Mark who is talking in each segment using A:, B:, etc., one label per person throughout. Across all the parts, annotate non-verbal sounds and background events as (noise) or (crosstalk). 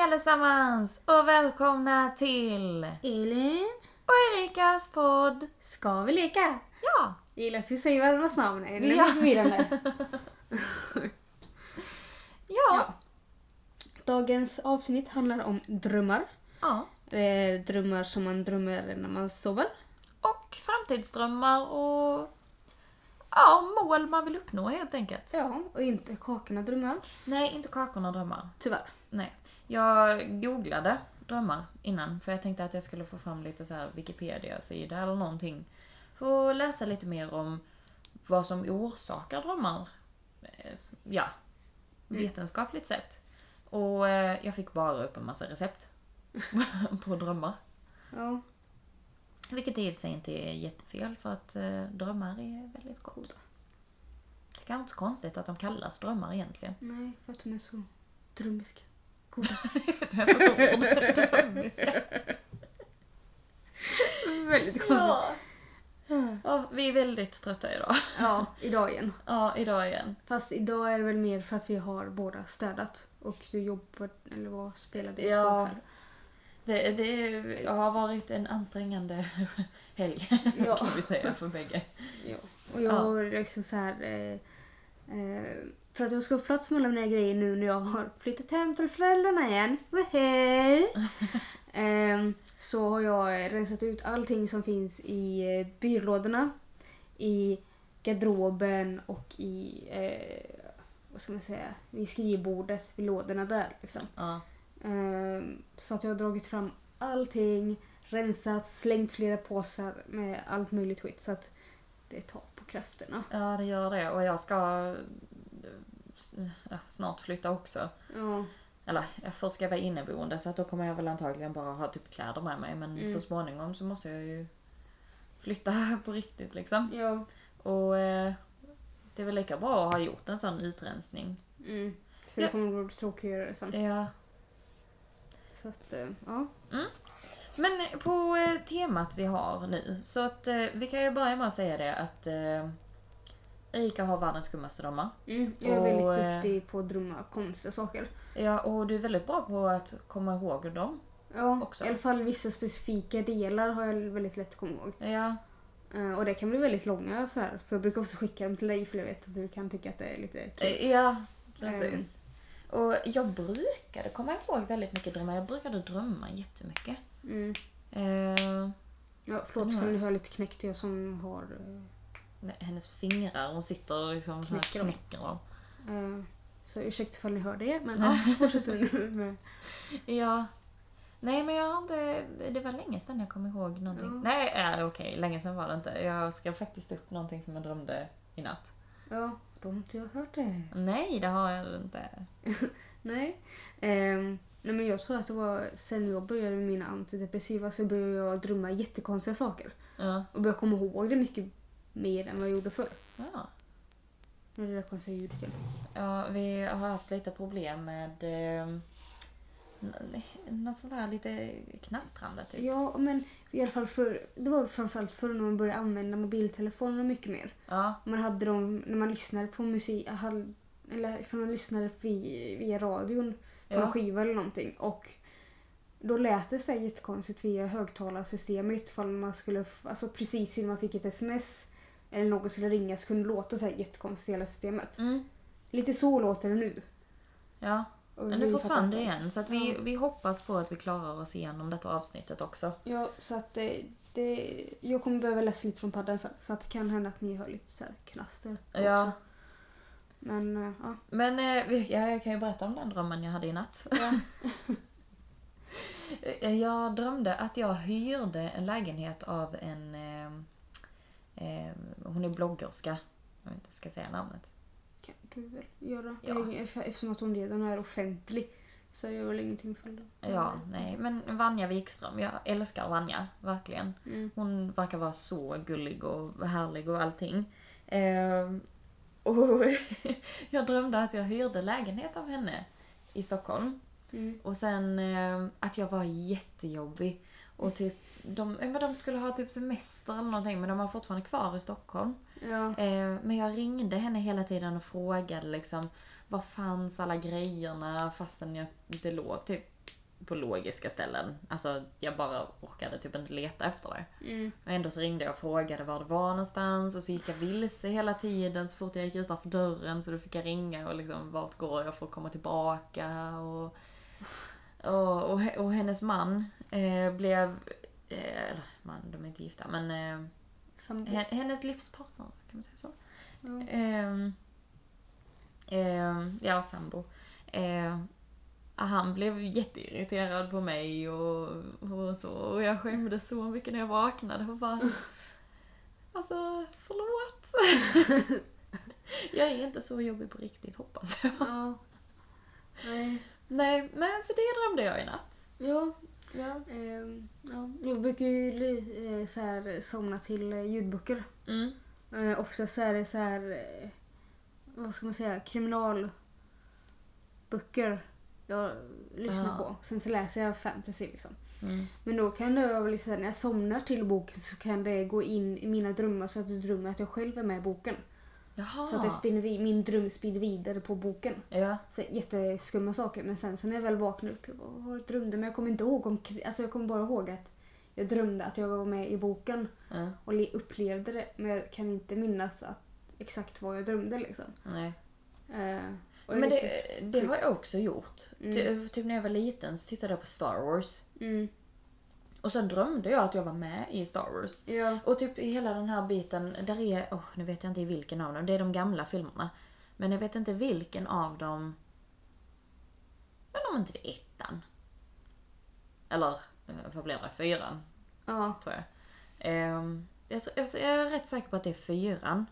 A: allesammans och välkomna till
B: Elin,
A: och Erikas podd.
B: ska vi leka?
A: Ja!
B: Jag gillar att vi säger varandras namn. Är det
A: Ja.
B: lite (laughs) förvirrande?
A: (laughs) Ja.
B: Ja. Dagens avsnitt handlar om drömmar.
A: ja.
B: Det är drömmar som man drömmer när man sover.
A: Och framtidsdrömmar och ja, mål man vill uppnå helt enkelt.
B: Ja, och inte kakorna drömmar.
A: Nej, inte kakorna drömmar.
B: Tyvärr.
A: Nej. Jag googlade drömmar innan för jag tänkte att jag skulle få fram lite så här Wikipedia-sida eller någonting. För att läsa lite mer om vad som orsakar drömmar. Eh, Ja, vetenskapligt sett. Och eh, jag fick bara upp en massa recept (laughs) på drömmar.
B: Ja,
A: Vilket i och för sig inte är jättefel för att eh, drömmar är väldigt goda. Det är kanske inte så konstigt att de kallas drömmar egentligen. (laughs)
B: nej, för att de är så drömmiska. Goda.
A: Det är ett ord. Drömmiska.
B: Väldigt konstigt.
A: Ja.
B: Ja.
A: Ja, vi är väldigt trötta idag.
B: ja, idag igen.
A: Ja, idag igen.
B: Fast idag är det väl mer för att vi har båda städat. Och du jobbar, eller vad spelar du
A: Ja. Det, det har varit en ansträngande (laughs) helg (laughs)
B: Ja.
A: kan vi säga för bägge.
B: Ja. Och jag
A: Ja.
B: har liksom så här... Eh, eh, för att jag ska få plats med alla mina grejer nu när jag har flyttat hem till föräldrarna igen. Woho! Ehm, så har jag rensat ut allting som finns i eh, byrålådorna, i garderoben och i... Eh, vad ska man säga? Vid skrivbordet, vid lådorna där liksom.
A: Ja.
B: Ehm, Så att jag har dragit fram allting, rensat, slängt flera påsar med allt möjligt skit. Så att det tar på krafterna.
A: ja, det gör det. Och jag ska eh, ja, snart flytta också.
B: Ja,
A: Eller jag- först ska jag vara inneboende så att då kommer jag väl antagligen bara ha typ kläder med mig. Men
B: Mm.
A: så småningom så måste jag ju flytta (laughs) på riktigt liksom.
B: ja.
A: Och eh, det är väl lika bra att ha gjort en sån utrensning.
B: Mm. För
A: Ja.
B: det kommer att bli tråkigare sen.
A: Ja.
B: Så att, eh, ja.
A: Men på eh, temat vi har nu, så att eh, vi kan ju börja med att säga det att eh, Erika har världens skummaste drömmar.
B: Mm. Jag är
A: Och, eh,
B: väldigt duktig på att drömma konstiga saker.
A: Ja, och du är väldigt bra på att komma ihåg dem.
B: Ja,
A: också.
B: i alla fall vissa specifika delar har jag väldigt lätt att komma ihåg.
A: Ja,
B: Eh, Och det kan bli väldigt långa så här. För jag brukar också skicka dem till dig för jag vet att du kan tycka att det är lite kul.
A: eh, ja
B: Mm.
A: precis. Och jag brukade komma ihåg väldigt mycket drömmar. Jag brukade drömma jättemycket.
B: Mm.
A: Eh,
B: Ja, förlåt
A: Nu har
B: för
A: jag-
B: nu har jag lite knäckt jag som har eh,
A: nej, hennes fingrar, hon sitter och liksom så här
B: Knäcker dem.
A: knäcker dem.
B: Eh, Så ursäkta ifall ni hör det, men (laughs) ja, fortsätt du nu med...
A: Ja. Nej men jag har inte, det var länge sedan jag kom ihåg någonting.
B: Ja.
A: Nej äh, okej, länge sedan var det inte. Jag skrev faktiskt upp någonting som jag drömde i natt.
B: Ja, då har inte jag hört det.
A: Nej det har jag inte.
B: Nej. Ehm, nej men jag tror att det var sen jag började med mina antidepressiva så började jag drömma jättekonstiga saker.
A: Ja.
B: Och började komma ihåg det mycket mer än vad jag gjorde förr.
A: Ja.
B: Nu är det där konstiga ljudet igen.
A: ja, vi har haft lite problem med eh, n- något sånt här lite knastrande typ.
B: Ja, men i alla fall för, det var framförallt förr när man började använda mobiltelefoner mycket mer.
A: Ja.
B: Man hade dem när man lyssnade på musik, hade- eller ifall man lyssnade via, via radion på
A: Ja.
B: en skiva eller någonting. Och då lät det så här jättekonstigt via högtalarsystemet ifall man skulle, f- alltså precis innan man fick ett sms eller någon skulle ringa så kunde det låta så här jättekonstigt i hela systemet.
A: Mm.
B: Lite så låter det nu.
A: Ja.
B: Och
A: Men
B: vi
A: nu
B: fattar
A: försvann
B: inte
A: det
B: det.
A: igen så att vi, vi hoppas på att vi klarar oss igenom detta avsnittet också.
B: Ja, så att det, det, jag kommer behöva läsa lite från paddan sen så att det kan hända att ni hör lite så här knaster
A: Ja.
B: också. Men eh, ja.
A: Men eh, vi- ja, jag kan ju berätta om den drömmen jag hade i natt.
B: ja.
A: (laughs) Eh, Jag drömde att jag hyrde en lägenhet av en... Eh, eh, hon är bloggerska. Om jag inte ska säga namnet.
B: kan du väl göra.
A: Ja.
B: Jag- Eftersom att hon redan är offentlig så gör jag väl ingenting för det.
A: Ja, nej. Men Vanja Wikström. Jag älskar Vanja, verkligen.
B: Mm.
A: Hon verkar vara så gullig och härlig och allting. Ehm, och (laughs) jag drömde att jag hyrde lägenhet av henne i Stockholm.
B: Mm.
A: Och sen eh, att jag var jättejobbig. Och typ, de, ja, men de skulle ha typ semester eller någonting men de var fortfarande kvar i Stockholm.
B: Ja.
A: Eh, men jag ringde henne hela tiden och frågade liksom var fanns alla grejerna fastän jag, det låg typ på logiska ställen. Alltså jag bara orkade typ inte leta efter det.
B: Mm.
A: Och ändå så ringde jag och frågade var det var någonstans och så gick jag vilse hela tiden så fort jag gick utanför dörren så då fick jag ringa och liksom vart går jag för att komma tillbaka och... Och, och, he- och hennes man eh, blev... Eh, eller man, de är inte gifta men... Eh,
B: Sambo.
A: hen- hennes livspartner, kan man säga så?
B: Ja.
A: Ehm, ehm, ja, sambo. Ehm, han blev jätteirriterad på mig och, och så. Och jag skämdes så mycket när jag vaknade. Och bara, alltså, förlåt. jag är inte så jobbig på riktigt, hoppas jag.
B: (laughs) ja. Nej.
A: Nej, men så det drömde jag i natt.
B: Ja.
A: Ja.
B: ehm, ja. Jag brukar ju li- eh, så här, somna till eh, ljudböcker.
A: Mm.
B: Eh, ofta så är det så här, eh, vad ska man säga, kriminalböcker jag lyssnar
A: Ja.
B: på. Sen så läser jag fantasy liksom.
A: Mm.
B: Men då kan det väl liksom, när jag somnar till boken så kan det gå in i mina drömmar så att jag drömmer att jag själv är med i boken.
A: Jaha.
B: Så att jag spinner, vid- min dröm spinner vidare på boken.
A: ja.
B: Så jätteskumma saker men sen så när jag väl vaknar upp, jag bara, vad drömde? Men jag kommer inte ihåg, om, kri- alltså jag kommer bara ihåg att jag drömde att jag var med i boken
A: ja.
B: och le- upplevde det men jag kan inte minnas att, exakt vad jag drömde liksom.
A: Nej.
B: Eh, och
A: Men
B: det,
A: det,
B: är
A: det har jag också gjort.
B: Mm.
A: Ty, typ när jag var liten så tittade jag på Star Wars.
B: så- mm,
A: Och sen drömde jag att jag var med i Star Wars.
B: ja,
A: Och typ i hela den här biten, där är, åh nu vet jag inte i vilken av dem, det är de gamla filmerna. Men jag vet inte vilken av dem... Men om inte det är ettan. Eller eh, vad blir det, fyran
B: ja,
A: tror jag. Ehm, jag, tror- jag, tror- jag är rätt säker på att det är fyran.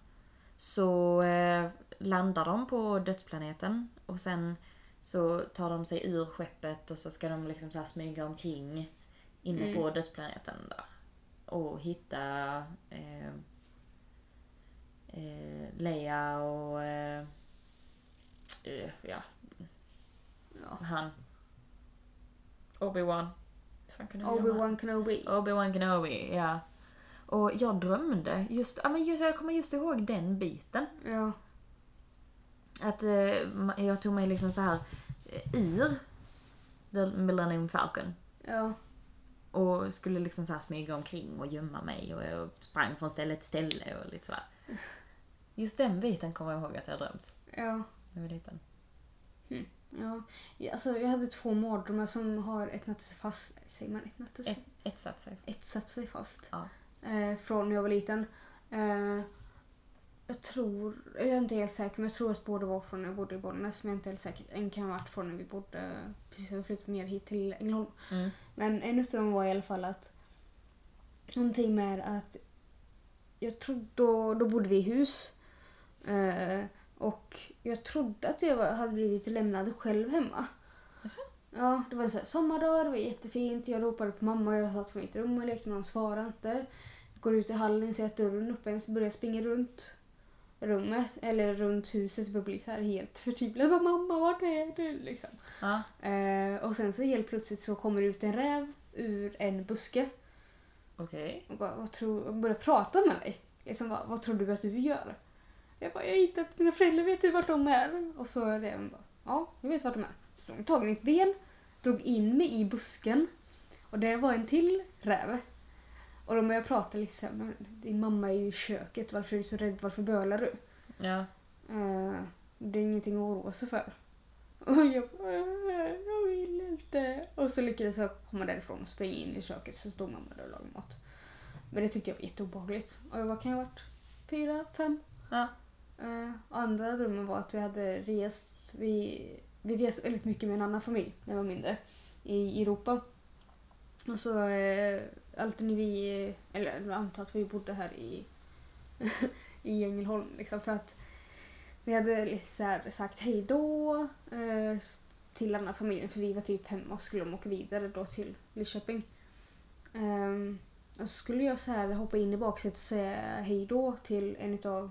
A: Så eh, landar de på dödsplaneten och sen så tar de sig ur skeppet och så ska de liksom så här smyga omkring inne
B: Mm.
A: på dödsplaneten där. Och hitta eh, eh, Leia och eh, eh, ja,
B: ja.
A: han. Obi-Wan. Hur fan kunde jag glömma?
B: Obi-Wan Kenobi.
A: Obi-Wan Kenobi, ja. Och jag drömde, just, ja, men just, jag kommer just ihåg den biten.
B: Ja,
A: Att eh, ma- jag tog mig liksom så här eh, ur The Millennium Falcon.
B: ja,
A: Och skulle liksom så här smyga omkring och gömma mig och jag sprang från ställe till ställe och lite sådär. Just den biten kommer jag ihåg att jag drömt
B: ja.
A: när jag var liten.
B: Ja, Ja, alltså jag hade två mardrömmar som har etnat sig fast. Säger man etnat sig?
A: Ett, etsat sig.
B: Etsat sig fast.
A: Ja.
B: Eh, från när jag var liten. Eh, jag tror, jag är inte helt säker, men jag tror att båda var från när jag bodde i Bollnäs. Men jag är inte helt säker. En kan ha varit från när vi bodde, precis när vi flyttade ner hit till Ängelholm.
A: Mm.
B: Men en utav dem var i alla fall att någonting med att jag trodde, då, då bodde vi i hus eh, och jag trodde att jag var, hade blivit lämnad själv hemma.
A: Jaså?
B: Ja, det var en sån här sommardag, det var jättefint. Jag ropade på mamma och jag satt på mitt rum och lekte men hon svarade inte. Går ut i hallen, ser att dörren är öppen, så börjar jag springa runt rummet eller runt huset och blir så här helt förtvivlad. Vad, Mamma, vart är du? Liksom.
A: Ja.
B: Eh, och sen så helt plötsligt så kommer det ut en räv ur en buske
A: Okej.
B: och, bara, vad tror, och börjar prata med mig. Liksom bara, vad tror du att du gör? Jag bara, jag har hittat mina föräldrar, vet du vart de är? Och så är räven bara, ja, jag vet vart de är. Så de tog mitt ben, drog in mig i busken och där var en till räv. Och då började jag prata liksom, men din mamma är ju i köket, varför är du så rädd, varför bölar du?
A: Ja.
B: Eh, det är ingenting att oroa sig för. Och jag bara, "Eh, jag vill inte. Och så lyckades jag komma därifrån och springa in i köket så stod mamma där och lagade mat. Men det tyckte jag var jätteobehagligt. Och jag var kan jag ha varit? Fyra, fem?
A: Ja.
B: Eh, och andra drömmen var att vi hade rest, vi, vi reste väldigt mycket med en annan familj när jag var mindre i Europa. Och så eh, alltid när vi, eller jag antar att vi bodde här i, (laughs) i Ängelholm liksom för att vi hade liksom så här sagt hej då eh, till andra familjen för vi var typ hemma och skulle de åka vidare då till Lidköping. Ehm, och så skulle jag så här hoppa in i baksätet och säga hej då till en utav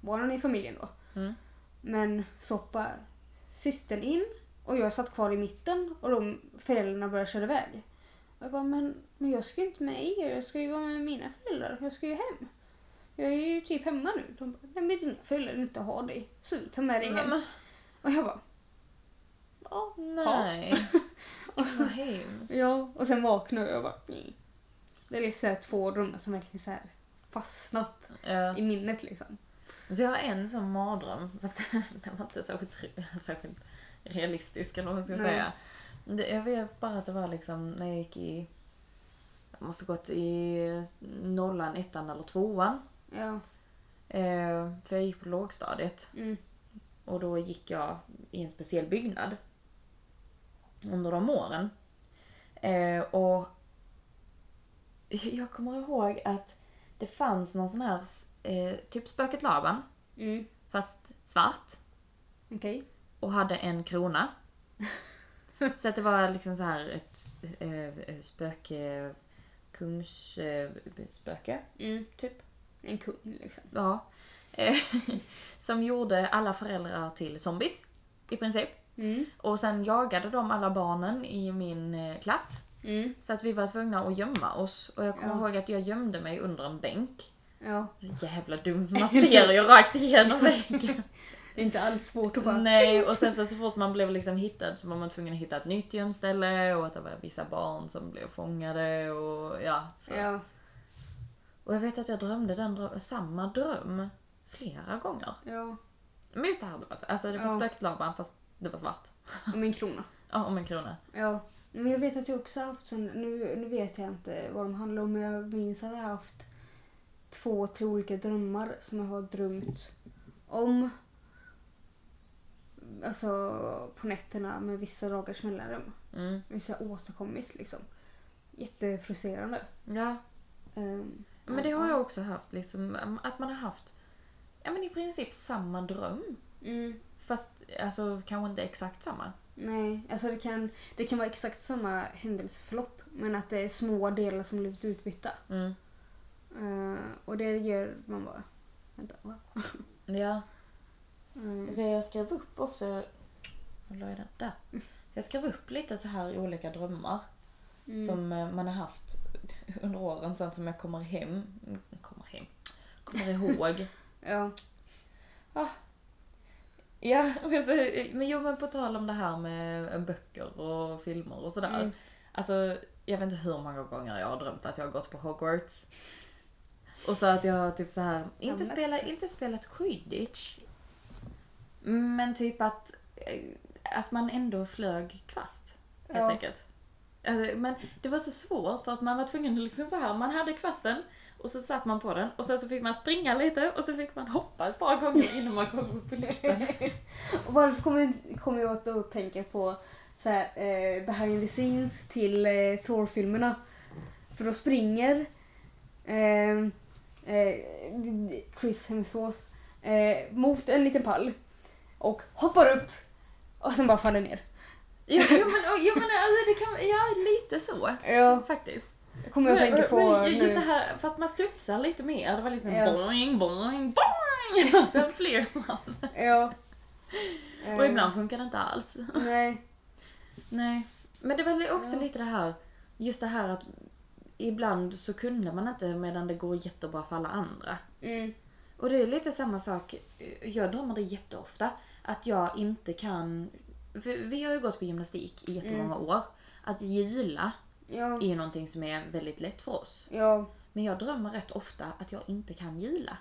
B: barnen i familjen då.
A: Mm.
B: Men så hoppade systern in och jag satt kvar i mitten och de föräldrarna började köra iväg. Och jag bara, men, men jag ska ju inte med er, jag ska ju vara med mina föräldrar, jag ska ju hem. Jag är ju typ hemma nu. De bara, nej men dina föräldrar vill inte ha dig, så vi tar med dig hem.
A: Men-
B: Och jag bara,
A: Åh, nej.
B: Och
A: Vad
B: så,
A: hemskt.
B: ja, och sen vaknade jag och bara... "Nej." Det är liksom så här två drömmar som verkligen så här fastnat
A: Ja.
B: i minnet liksom.
A: Så Alltså, jag har en sån mardröm, (laughs) fast den var inte särskilt, tr- (laughs) särskilt realistisk eller vad man ska
B: Nej.
A: säga. Det, jag vet bara att det var liksom när jag gick i, jag måste gått i nollan, ettan eller tvåan.
B: Ja.
A: Eh, för jag gick på lågstadiet
B: Mm.
A: och då gick jag i en speciell byggnad under de åren. Eh, och jag kommer ihåg att det fanns någon sån här, eh, typ spöket Laban,
B: Mm.
A: fast svart.
B: Okej.
A: och hade en krona. Så att det var liksom så här ett eh, spöke, kungsspöke
B: Mm.
A: typ.
B: En kung liksom.
A: Ja. Eh, (laughs) Som gjorde alla föräldrar till zombies i princip.
B: Mm.
A: Och sen jagade de alla barnen i min eh, klass.
B: Mm.
A: Så att vi var tvungna att gömma oss. Och jag kommer
B: Ja.
A: ihåg att jag gömde mig under en bänk.
B: Ja.
A: Så jävla dumt, man ser ju rakt igenom väggen.
B: Inte alls svårt att bara...
A: Nej, och sen så, så fort man blev liksom hittad så var man tvungen att hitta ett nytt gömställe och att det var vissa barn som blev fångade och ja. Så.
B: Ja.
A: Och jag vet att jag drömde den drö- samma dröm flera gånger.
B: Ja.
A: Men just det här, hade varit- alltså det var
B: Ja.
A: spökt Laban fast det var svart.
B: Och min krona.
A: Ja, om en krona.
B: Ja, men jag vet att jag också har haft sån, nu, nu vet jag inte vad de handlar om men jag minns att jag har haft två, tre olika drömmar som jag har drömt om. Alltså på nätterna med vissa dagars mellanrum.
A: Mm.
B: Vissa återkommit liksom. Jättefrustrerande.
A: Ja,
B: Ehm,
A: men det har jag också haft liksom, att man har haft ja men i princip samma dröm.
B: Mm,
A: Fast alltså kanske inte exakt samma.
B: nej, alltså det kan, det kan vara exakt samma händelseförlopp men att det är små delar som blivit utbytta.
A: Mm.
B: Ehm, och det gör man bara... Vänta, va?
A: Ja.
B: Ehm,
A: Så jag skrev upp också... Var la jag den? Där. Jag skrev upp lite så här olika drömmar
B: mm.
A: som eh, man har haft (laughs) under åren sen som jag kommer hem... Kommer hem? Kommer ihåg.
B: Ja.
A: (laughs) ja, (laughs) men, så, eh, men jo men på tal om det här med eh, böcker och filmer och sådär.
B: Mm.
A: Alltså, jag vet inte hur många gånger jag har drömt att jag har gått på Hogwarts. Och så att jag typ så här inte,
B: men det
A: spela,
B: ska-
A: inte spelat quidditch. Men typ att, eh, att man ändå flög kvast. Helt
B: Ja.
A: enkelt. Alltså, Men det var så svårt för att man var tvungen att liksom så här, man hade kvasten och så satt man på den och sen så fick man springa lite och så fick man hoppa ett par gånger innan man kom upp i luften.
B: Och varför kommer kom jag att då tänka på så här, eh, behind the scenes till eh, Thor-filmerna? För då springer eh, eh, Chris Hemsworth eh, mot en liten pall och hoppar upp och sen bara faller ner.
A: (laughs) Jo, jo men, jo, men alltså, det kan, ja, lite så.
B: Ja,
A: Faktiskt.
B: kommer jag att tänka på
A: Men ju- Just det
B: nu.
A: här, fast man studsar lite mer. Det var liksom
B: Ja.
A: boing, boing, boing! (laughs) Och sen flyger man.
B: Ja.
A: Och
B: Eh,
A: ibland funkar det inte alls.
B: Nej.
A: Nej. Men det var li- också
B: Ja.
A: lite det här, just det här att ibland så kunde man inte medan det går jättebra för alla andra.
B: Mm.
A: Och det är lite samma sak, jag drömmer det jätteofta, att jag inte kan... För vi har ju gått på gymnastik i jättemånga
B: Mm.
A: år. Att jula
B: Ja.
A: är ju någonting som är väldigt lätt för oss.
B: Ja.
A: Men jag drömmer rätt ofta att jag inte kan gila.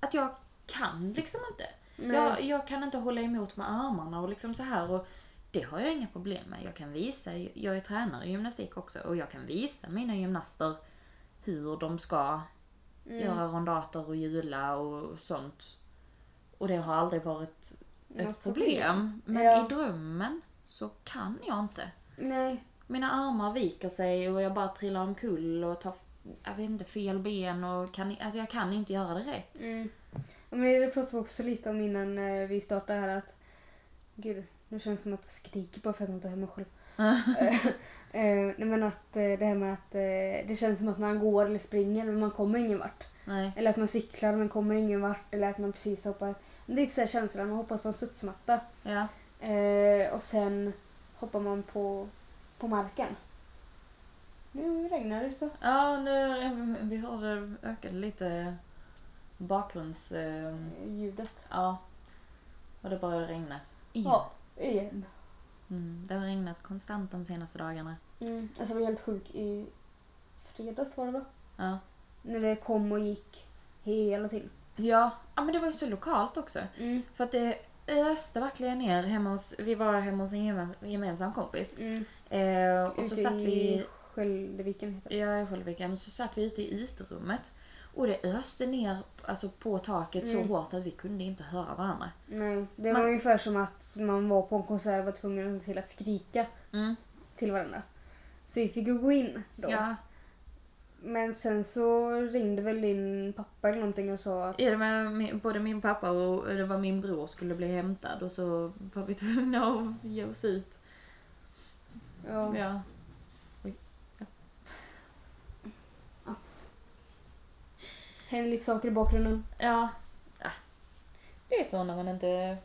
A: Att jag kan liksom inte.
B: Hm. Nej.
A: Jag, jag kan inte hålla emot med armarna och liksom så här. Och det har jag inga problem med. Jag kan visa, jag är tränare i gymnastik också, och jag kan visa mina gymnaster hur de ska
B: Mm.
A: göra rondater och hjula och sånt. Och det har aldrig varit ett
B: Något
A: problem. Men
B: Ja.
A: i drömmen så kan jag inte.
B: Nej.
A: Mina armar viker sig och jag bara trillar omkull och tar jag vet inte, fel ben och kan, alltså jag kan inte göra det rätt.
B: Mm. Ja, Men det pratade vi också lite om innan eh, vi startade här att Gud, nu känns det som att jag skriker bara för att jag inte har mig själv. Eh, eh, nej, men att eh, det här med att eh, det känns som att man går eller springer men man kommer ingen vart.
A: Nej.
B: Eller att man cyklar men kommer ingen vart. Eller att man precis hoppar. Det är lite så här känslan, man hoppar på en studsmatta.
A: Ja.
B: Eh, och sen hoppar man på, på marken. Nu regnar det ute.
A: Ja, nu, vi hörde ökade lite bakgrunds... eh,
B: Ljudet.
A: Ja. Och det började regna. Igen.
B: Ja, igen.
A: Mm, det har regnat konstant de senaste dagarna.
B: Mm. Alltså jag blev helt sjuk i fredags var det va?
A: Ja.
B: När det kom och gick hela tiden.
A: Ja, ja men det var ju så lokalt också.
B: Mm.
A: För att det öste verkligen ner hemma hos, vi var hemma hos en gemen- gemensam kompis.
B: Mm.
A: Eh, och så
B: Ute
A: satt vi,
B: i Skälderviken heter det.
A: ja i Skälderviken, men så satt vi ute i uterummet. Och det öste ner alltså, på taket
B: Mm.
A: så hårt att vi kunde inte höra varandra.
B: Nej, det
A: Man-
B: var ungefär som att man var på en konsert och var tvungen till att skrika
A: Mm.
B: till varandra. Så vi fick ju gå in då.
A: Ja.
B: Men sen så ringde väl din pappa eller någonting och sa att
A: I och med min, både min pappa och det var min bror skulle bli hämtad och så var vi (laughs) tvungna att ge oss ut.
B: ja,
A: Ja.
B: händer lite saker i bakgrunden.
A: ja. Ah. Det är så när man inte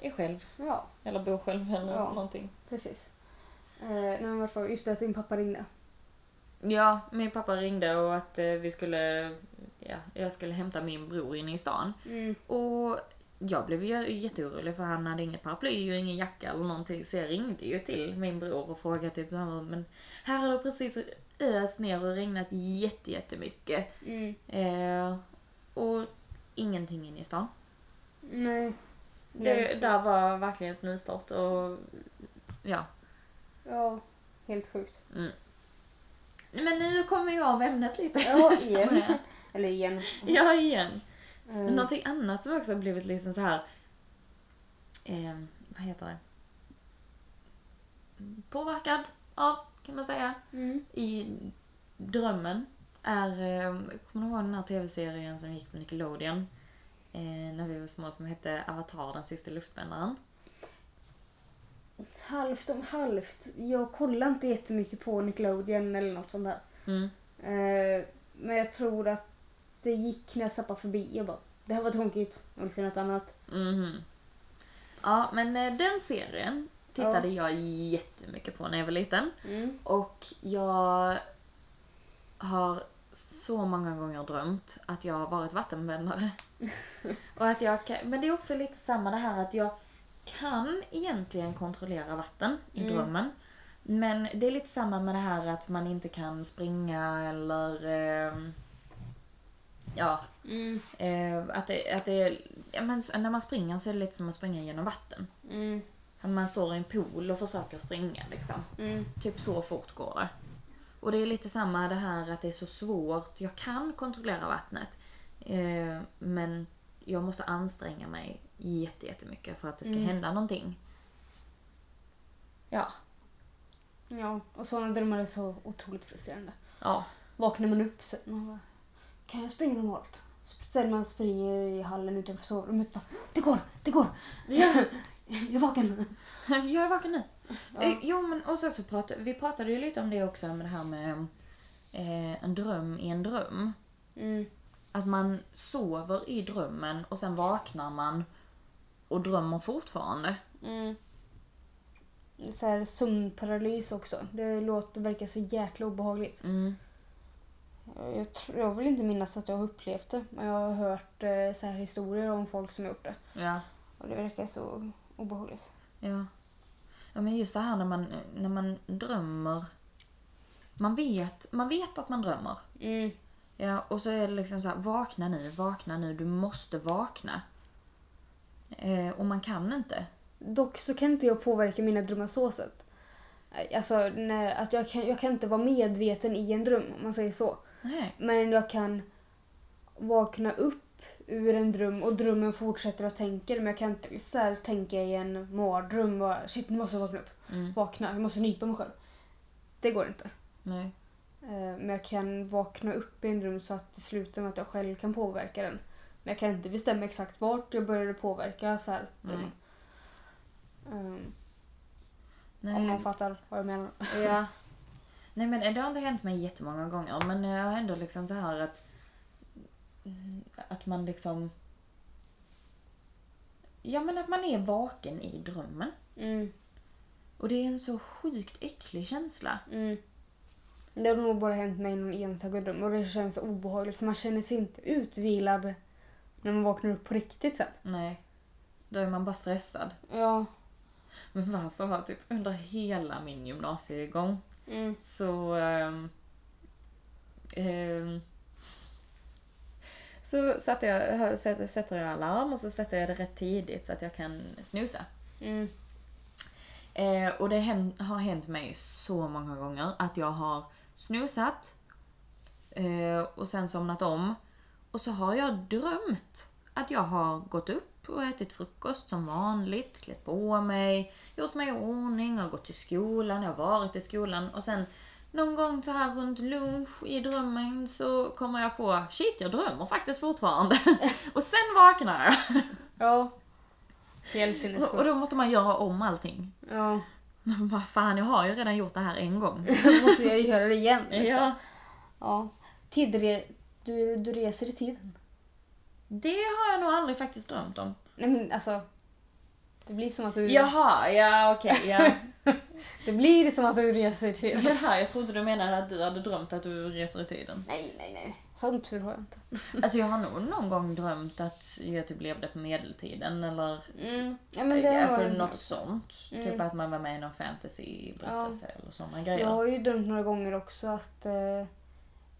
A: är själv
B: Ja,
A: eller bor själv eller
B: Ja.
A: någonting.
B: precis. Eh, nej, men varför? Just det, att din pappa ringde.
A: Ja, min pappa ringde och att eh, vi skulle, ja, jag skulle hämta min bror inne i stan.
B: Mm.
A: Och jag blev ju jätteorolig för han hade inget paraply och ingen jacka eller någonting. Så jag ringde ju till min bror och frågade typ så här, men här har det precis öst ner och regnat jätte, jättemycket.
B: Mm.
A: Eh, och ingenting inne i stan.
B: Nej.
A: Det, där var verkligen snustort och ja.
B: Ja, helt sjukt.
A: Mm. Men nu kommer jag av ämnet lite.
B: (laughs) Ja, Mm. igen.
A: Ja.
B: Eller igen.
A: (laughs) ja, igen.
B: Eh,
A: Någonting annat som också har blivit liksom så här. ehm, vad heter det? Påverkad av, kan man säga,
B: Mm.
A: i drömmen är, ehm, kommer du ihåg den här tv-serien som gick på Nickelodeon? Eh, när vi var små som hette Avatar, den sista luftbändaren.
B: Halvt om halvt. Jag kollar inte jättemycket på Nickelodeon eller något sånt där.
A: Mm.
B: Eh, men jag tror att det gick när jag zappade förbi. Jag bara, det här var tråkigt. Jag vill se något annat.
A: Mhm. Ja, men eh, den serien tittade jag jättemycket på när jag var liten.
B: Mm.
A: Och jag har så många gånger drömt att jag har varit vattenvändare. och att jag kan, men det är också lite samma det här att jag kan egentligen kontrollera vatten i
B: Mm.
A: drömmen. Men det är lite samma med det här att man inte kan springa eller ehm, ja,
B: Mm.
A: eh, att det, att det är, ja, men s- när man springer så är det lite som att springa genom vatten.
B: Mm.
A: Att man står i en pool och försöker springa liksom.
B: Mm.
A: Typ så fort går det. Och det är lite samma det här att det är så svårt. Jag kan kontrollera vattnet. Eh, men jag måste anstränga mig jätte- jättemycket för att det ska
B: Mm.
A: hända någonting. Ja.
B: Ja, och sådana drömmar är så otroligt frustrerande.
A: Ja. (laughs)
B: Vaknar man upp sen och bara, kan jag springa normalt? Så sen man springer i hallen utanför sovrummet bara, det går, det går! (laughs) Jag är vaken!
A: jag är vaken nu.
B: Ja.
A: Eh, jo men och sen så pratade vi pratade ju lite om det också med det här med eh, en dröm i en dröm.
B: Mm.
A: Att man sover i drömmen och sen vaknar man och drömmer fortfarande.
B: Mm. Så här, sömnparalys också. Det låter, verkar så jäkla obehagligt.
A: Mm.
B: Jag, tror, jag vill inte minnas att jag har upplevt det, men jag har hört eh, så här historier om folk som har gjort det.
A: Ja.
B: Och det verkar så obehagligt.
A: Ja. ja men just det här när man, när man drömmer. Man vet, man vet att man drömmer.
B: Mm.
A: Ja, och så är det liksom så här, vakna nu, vakna nu, du måste vakna. Eh, och man kan inte.
B: Dock så kan inte jag påverka mina drömmar så sätt. Alltså, när, att jag, kan, jag kan inte vara medveten i en dröm, om man säger så.
A: Nej.
B: Men jag kan vakna upp ur en dröm och drömmen fortsätter att tänka. Men jag kan inte så här, tänka i en mardröm och shit nu måste jag vakna upp.
A: Mm,
B: Vakna, jag måste nypa mig själv. Det går inte.
A: nej.
B: Eh, Men jag kan vakna upp i en dröm så att det slutar med att jag själv kan påverka den. Men jag kan inte bestämma exakt vart jag började påverka så här drömmen. Ehm, Om
A: Nej.
B: man fattar vad jag menar.
A: Ja. Nej men det har inte hänt mig jättemånga gånger men jag har ändå liksom så här att att man liksom Ja men att man är vaken i drömmen.
B: Mm,
A: Och det är en så sjukt äcklig känsla.
B: mm. Det har nog bara hänt mig i någon enstaka dröm och det känns obehagligt för man känner sig inte utvilad när man vaknar upp på riktigt sen.
A: Nej. Då är man bara stressad.
B: Ja.
A: Men värsta var typ under hela min gymnasiegång
B: Mm.
A: så... ehm, ehm, så satte jag, hö- sätter- sätter jag alarm och så sätter jag det rätt tidigt så att jag kan snusa.
B: Mm.
A: Eh, och det hän- har hänt mig så många gånger att jag har snusat eh, och sen somnat om. Och så har jag drömt att jag har gått upp och ätit frukost som vanligt, klätt på mig, gjort mig i ordning, har gått till skolan, jag har varit i skolan och sen någon gång så här runt lunch i drömmen så kommer jag på shit jag drömmer faktiskt fortfarande. (laughs) och sen vaknar jag.
B: Ja. Helt
A: Och- och
B: sinnessjukt.
A: då måste man göra om allting.
B: Ja.
A: Men vad fan, jag har ju redan gjort det här en
B: (laughs)
A: gång. Liksom.
B: Då måste jag ju göra det igen. Liksom.
A: ja.
B: ja. Tidre... Du, du reser i tiden.
A: Det har jag nog aldrig faktiskt drömt om.
B: Nej men alltså. Det blir som att du...
A: Jaha, ja okej.
B: (laughs)
A: ja.
B: Det blir som att du reser i tiden.
A: Jaha, jag trodde du menade att du hade drömt att du reser i tiden.
B: Nej, nej, nej. Sån tur har jag inte.
A: Alltså jag har nog någon gång drömt att jag typ levde på medeltiden eller
B: Mm. Ja, men det
A: alltså
B: har jag. Mm.
A: något sånt. Typ att man var med i någon fantasyberättelse eller sådana grejer.
B: Jag har ju drömt några gånger också att eh,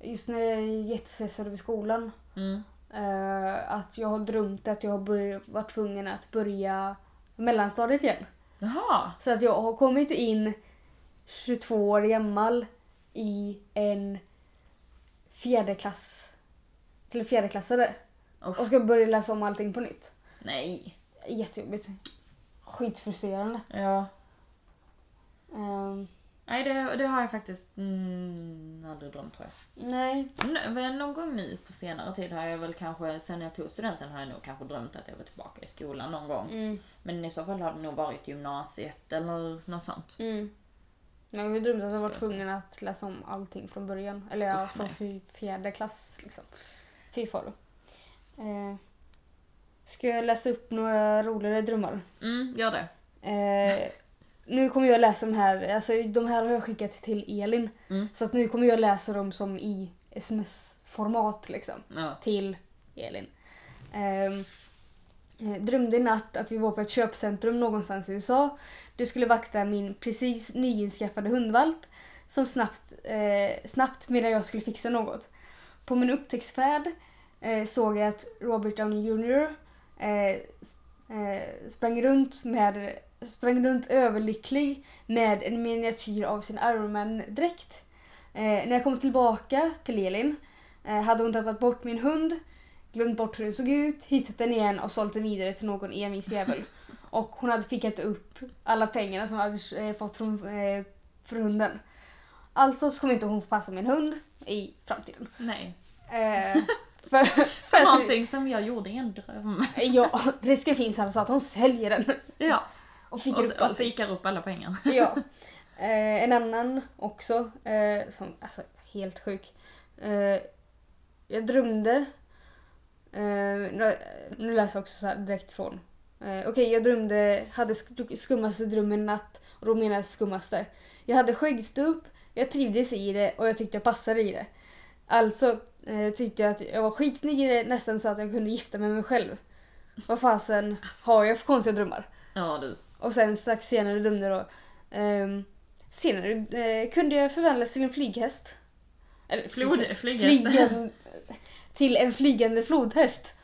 B: just när jag är jättestressad över skolan
A: Mm.
B: eh, att jag har drömt att jag har bör- varit tvungen att börja mellanstadiet igen.
A: Jaha!
B: Så att jag har kommit in 22 år gammal i en fjärdeklass till fjärdeklassare
A: Usch.
B: och ska börja läsa om allting på nytt.
A: Nej.
B: Jättejobbigt. Skitfrustrerande.
A: Ja.
B: Ehm,
A: Nej, det, det har jag faktiskt mm, aldrig drömt tror jag.
B: nej.
A: N- väl Någon gång nu på senare tid har jag väl kanske, sen jag tog studenten har jag nog kanske drömt att jag var tillbaka i skolan någon gång.
B: Mm.
A: Men i så fall har det nog varit gymnasiet eller något sånt.
B: Mm. Men vi drömde att jag var tvungen att läsa om allting från början. Eller ja,
A: Uff,
B: från
A: nej.
B: fy- fjärde klass. Liksom. Fy faro. Eh, ska jag läsa upp några roligare drömmar?
A: Mm, gör det.
B: Eh,
A: (laughs)
B: nu kommer jag läsa de här. Alltså, de här har jag skickat till Elin.
A: Mm.
B: Så att nu kommer jag läsa dem som i sms-format. Liksom
A: Ja.
B: till Elin. Ehm, eh, drömde i natt att vi var på ett köpcentrum någonstans i USA. Du skulle vakta min precis nyinskaffade hundvalp som snabbt, eh, snabbt medan jag skulle fixa något. På min upptäcktsfärd eh, såg jag att Robert Downey Jr eh, sp- eh, sprang, runt med, sprang runt överlycklig med en miniatyr av sin Iron Man-dräkt. Eh, när jag kom tillbaka till Elin Eh, hade hon tappat bort min hund, glömt bort hur den såg ut, hittat den igen och sålt den vidare till någon envisjävel. Och hon hade fickat upp alla pengarna som hon hade eh, fått från, eh, för hunden. Alltså så kommer inte hon få passa min hund i framtiden.
A: Nej.
B: Eh, för, för
A: För
B: att,
A: någonting som jag gjorde i en dröm.
B: ja, risken finns alltså att hon säljer den
A: (laughs) Ja.
B: och fick upp
A: Och, och
B: allting.
A: fikar upp alla pengar.
B: (laughs) ja. Eh, en annan också, eh, som alltså helt sjuk. Eh, jag drömde, eh, nu- nu läser jag också så här direkt från. Eh, Okej, jag drömde, hade sk- skummaste drömmen i natt och då menar jag skummaste. Jag hade skäggstubb, jag trivdes i det och jag tyckte jag passade i det. Alltså eh, tyckte jag att jag var skitsnygg i det nästan så att jag kunde gifta mig med mig själv. Vad fasen har jag för konstiga drömmar?
A: Ja du.
B: Och sen strax senare dömde då. ehm, senare eh, kunde jag förvandlas till en flyghäst. Eller
A: Flod-
B: flyghäst.
A: flyghäst.
B: Flygen- till en flygande flodhäst.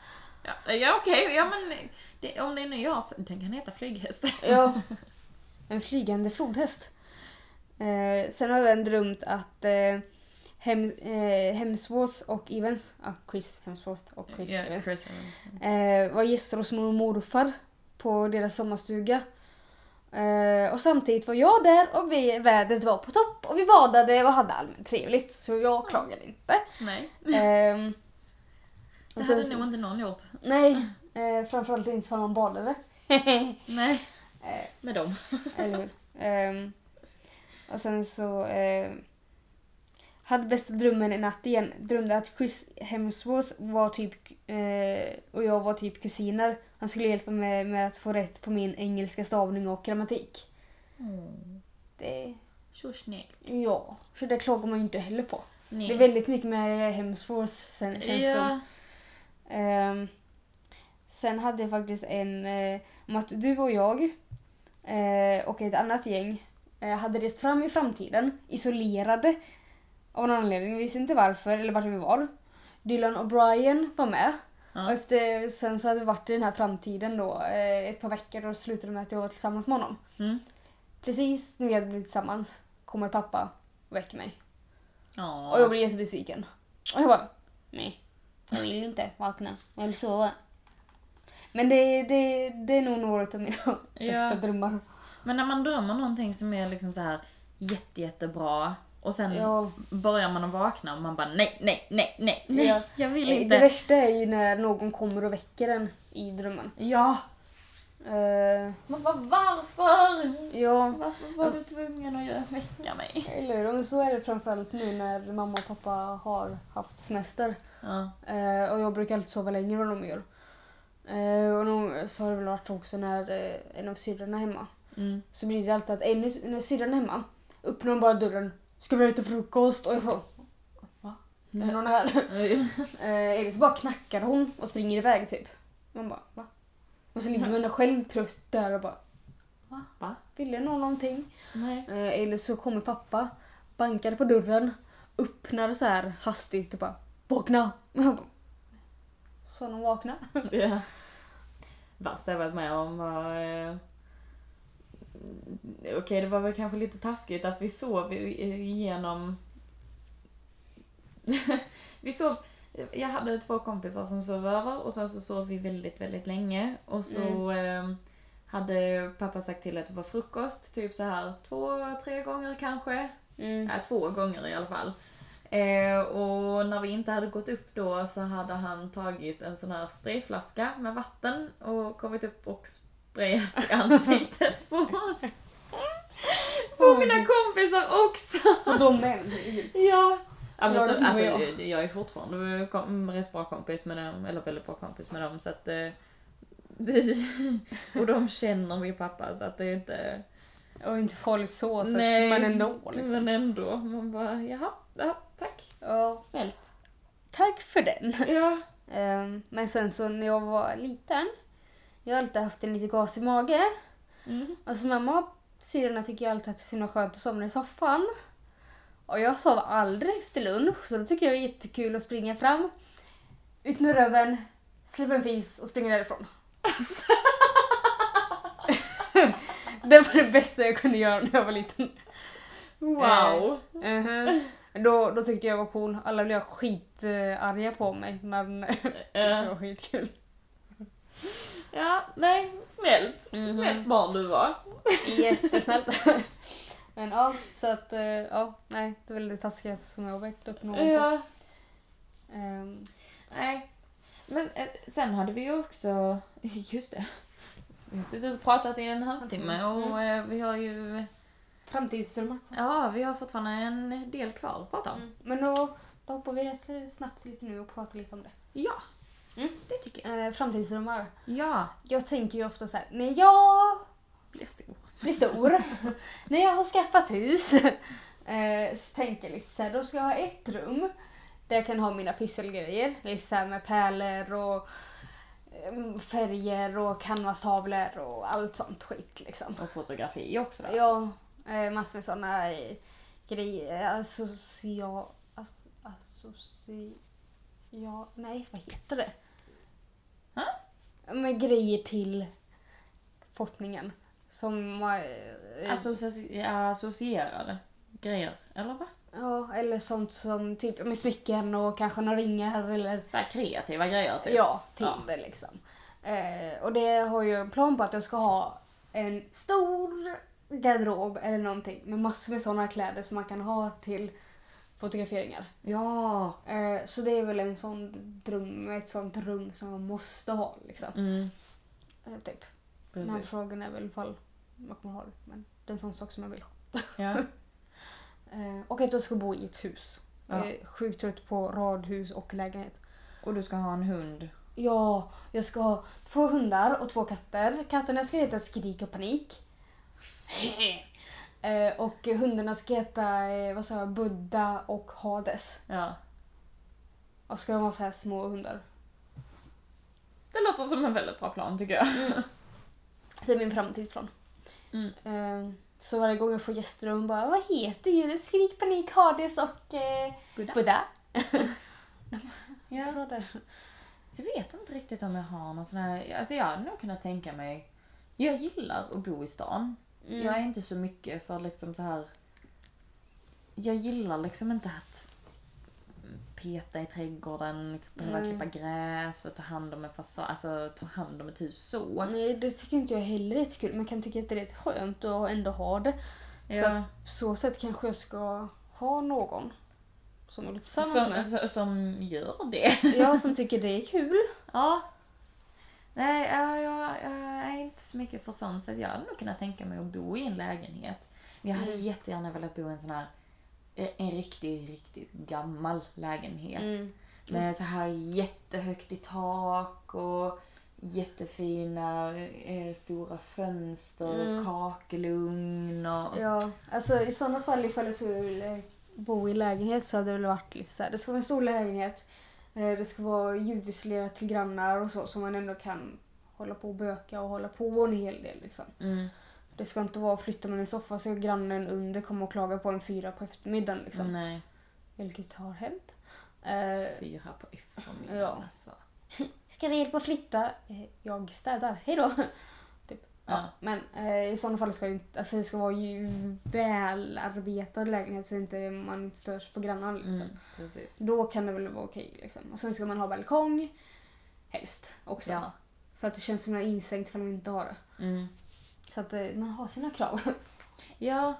A: Ja, ja okej, ja men det, om det är ny art, den kan heta flyghäst. (laughs)
B: Ja. En flygande flodhäst. Eh, sen har jag även drömt att eh, Hem, eh, Hemsworth och Evans, ja Chris Hemsworth och Chris
A: Ja,
B: Evans,
A: Chris Evans.
B: eh, var gäster hos mormor och morfar på deras sommarstuga. Eh, och samtidigt var jag där och vi, vädret var på topp och vi badade och hade allmänt trevligt. Så jag klagade
A: (laughs)
B: inte.
A: Nej.
B: Ehm,
A: Det
B: och
A: hade
B: sen,
A: nog inte någon gjort.
B: nej, eh, framförallt inte för
A: (laughs)
B: någon badare.
A: Nej.
B: Eh,
A: Med dem.
B: Eller hur? Ehm, och sen så ehm, hade bästa drömmen en natt igen. Drömde att Chris Hemsworth var typ eh, och jag var typ kusiner. Han skulle hjälpa mig med att få rätt på min engelska stavning och grammatik.
A: Mm.
B: Det,
A: Så snyggt.
B: ja, för det klagar man ju inte heller på.
A: Nej.
B: Det är väldigt mycket med Hemsworth sen känns det som.
A: ja.
B: Ehm, sen hade jag faktiskt en eh, om att du och jag eh, och ett annat gäng eh, hade rest fram i framtiden, isolerade av någon anledning. Vi visste inte varför eller vart vi var. Dylan och Brian var med.
A: Ja.
B: Och efter, sen så hade vi varit i den här framtiden då eh, ett par veckor och slutade med att jag var tillsammans med honom.
A: Mm.
B: Precis när vi hade blivit tillsammans kommer pappa och väcker mig.
A: Ja.
B: Och jag blir jättebesviken. Och jag bara, nej. Jag vill inte vakna. Jag vill sova. Men det, det, det är nog några (laughs) av mina bästa drömmar.
A: Men när man drömmer någonting som är liksom så här jätte, jättebra och sen
B: Ja.
A: börjar man att vakna och man bara nej, nej, nej, nej, nej,
B: Ja.
A: jag vill
B: Eh, Det,
A: inte.
B: det värsta är ju när någon kommer och väcker en i drömmen.
A: Ja,
B: Eh,
A: man bara varför?
B: ja,
A: Varför var du tvungen att göra- väcka mig?
B: eller hur? Men så är det framförallt nu när mamma och pappa har haft semester.
A: Ja.
B: Eh, och jag brukar alltid sova längre än vad de gör. Eh, och de, så har det väl varit också när eh, en av syrrorna är hemma.
A: Mm.
B: så blir det alltid att en, när syrran är hemma öppnar hon bara dörren. Ska vi äta frukost? Och jag bara, va? Är det någon här? (laughs)
A: Mm.
B: Eh, Eller så bara knackar hon och springer iväg typ. Man bara va? Och så ligger man där själv trött där och bara
A: Va?
B: ville någon någonting?
A: Nej.
B: Eh, Eller så kommer pappa, bankar på dörren, öppnar så här hastigt och bara vakna! (laughs) Och jag bara, Sa någon vakna?
A: (laughs) Ja. Värsta jag varit med om var... Eh... Okej, det var väl kanske lite taskigt att vi sov i- i- igenom... (laughs) vi sov... Jag hade två kompisar som sov över och sen så sov vi väldigt, väldigt länge. Och så eh, hade pappa sagt till att det var frukost, typ så här två, tre gånger kanske. (laughs)
B: Mm.
A: Ja, två gånger i alla fall. Eh, och när vi inte hade gått upp då så hade han tagit en sån här sprayflaska med vatten och kommit upp och sprayat i ansiktet på
B: (laughs)
A: oss. På mina kompisar också!
B: Och de män.
A: Ja. Ja, men
B: Ja,
A: så,
B: det var
A: alltså,
B: jag.
A: jag är fortfarande kom, mm, rätt bra kompis med dem, eller väldigt bra kompis med dem så att... Eh, (laughs) och de känner min pappa så att det är inte...
B: Och inte farligt så, så
A: Nej.
B: men ändå liksom.
A: Men ändå, man bara jaha, ja, tack,
B: Ja,
A: snällt.
B: tack för den.
A: Ja.
B: Ehm, men sen så när jag var liten, jag har alltid haft en lite gasig mage.
A: Mm.
B: Alltså mamma och syrrorna tycker ju alltid att det är så himla skönt att somna i soffan. Och jag sov aldrig efter lunch så då tycker jag det är jättekul att springa fram, ut med röven, släppa en fis och springa därifrån. det var det bästa jag kunde göra när jag var liten.
A: (laughs) Wow.
B: Mhm. Då, då tyckte jag var cool. Alla blev skitarga på mig men (laughs) det
A: Eh, typ.
B: var skitkul.
A: ja, nej, snällt.
B: Mhm.
A: Snällt barn du var.
B: Jättesnällt. (laughs) Men ja, så att eh, ja, nej, det var lite taskigt som jag väckte upp någon på.
A: Ja,
B: Ehm,
A: Eh, nej. Men eh, sen hade vi ju också, (laughs) just det. Vi har suttit och pratat i en halvtimme och eh, vi har ju,
B: Framtidsdrömmar.
A: ja vi har fortfarande en del kvar att prata om.
B: Mm. Men då, då hoppar vi rätt snabbt lite nu och pratar lite om det.
A: Ja,
B: Mm.
A: det tycker jag.
B: Eh, framtidsdrömmar.
A: Ja,
B: Jag tänker ju ofta så här, när jag
A: blir stor.
B: blir stor, när jag har skaffat hus, eh, så tänker jag lite så här, då ska jag ha ett rum där jag kan ha mina pysselgrejer. Liksom så här med pärlor och eh, färger och canvastavlor och allt sånt skit liksom.
A: Och fotografi också va?
B: Ja, eh, massor med såna eh, grejer. Associa... As, associ... Ja, nej, vad heter det?
A: Ha?
B: Med grejer till fottningen. Som... Eh,
A: Alltså- Associ- associerade grejer, eller va?
B: Ja, eller sånt som typ med smycken och kanske några ringar eller
A: Så här kreativa grejer typ.
B: Ja, till
A: Ja.
B: det liksom. Eh, och det har ju en plan på att jag ska ha en stor garderob eller någonting med massor med sådana kläder som man kan ha till fotograferingar.
A: Ja.
B: Eh, så det är väl en sån dröm, ett sånt rum som man måste ha liksom.
A: Mm,
B: Eh, typ. Men
A: precis.
B: frågan är väl ifall jag kommer ha det. Men det är en sån sak som jag vill ha.
A: (laughs) Ja.
B: Eh, och att jag ska bo i ett hus.
A: Ja.
B: Jag är sjukt trött på radhus och lägenhet.
A: Och du ska ha en hund.
B: Ja, jag ska ha två hundar och två katter. Katterna ska heta Skrik och Panik. (laughs) Eh, och hundarna ska heta eh, vad sa jag, Buddha och Hades.
A: Ja.
B: Och ska de vara så här små hundar.
A: Det låter som en väldigt bra plan tycker jag.
B: Det är min framtidsplan.
A: Mm.
B: Eh, så varje gång jag får gäster och hon bara Vad heter djuret? Skrik, panik, hades och eh,
A: Buddha.
B: Buddha.
A: (laughs) Ja.
B: Bra där.
A: Så jag vet inte riktigt om jag har någon sån här... Alltså jag hade nog kunnat tänka mig... Jag gillar att bo i stan.
B: Mm.
A: Jag är inte så mycket för liksom så här... Jag gillar liksom inte att peta i trädgården, behöva
B: Nej.
A: klippa gräs och ta hand om en fasad, alltså ta hand om ett hus så.
B: Nej, det tycker inte jag heller är jättekul. Man kan tycka att det är rätt skönt att ändå ha det. Så
A: Ja.
B: att på så sätt kanske jag ska ha någon som är lite samma som
A: Som,
B: mig.
A: som, som gör det.
B: Jag som tycker det är kul.
A: Ja. Nej, eh, jag, jag är inte så mycket för sånt. Så att jag hade nog kunnat tänka mig att bo i en lägenhet. Men jag hade
B: Mm.
A: jättegärna velat bo i en sån här eh, en riktigt, riktigt gammal lägenhet.
B: (laughs) Mm.
A: Med så här jättehögt i tak och jättefina eh, stora fönster,
B: Mm.
A: kakelugn och...
B: Ja, alltså i sådana fall ifall jag skulle bo i lägenhet så hade det väl varit lite så här. Det ska vara en stor lägenhet. eh, Det ska vara ljudisolerat till grannar och så som man ändå kan hålla på och böka och hålla på en hel del liksom.
A: Mm.
B: Det ska inte vara flyttar man en soffa så är grannen under kommer och klagar på en fyra på eftermiddagen liksom.
A: Nej,
B: Vilket har hänt. Eh,
A: fyra på eftermiddagen
B: ja.
A: alltså.
B: ska vi hjälpa att flytta? Eh, jag städar, hejdå! Typ.
A: Ja.
B: Men eh, i sådana fall ska det, inte, alltså, det ska vara ju välarbetad lägenhet så inte man inte störs på grannarna. Liksom.
A: Mm, precis.
B: Då kan det väl vara okej. Liksom. Och sen ska man ha balkong, helst också.
A: Ja.
B: För att det känns som att man är instängd ifall man inte har det.
A: Mm.
B: Så att eh, man har
A: (laughs)
B: sina krav.
A: Ja,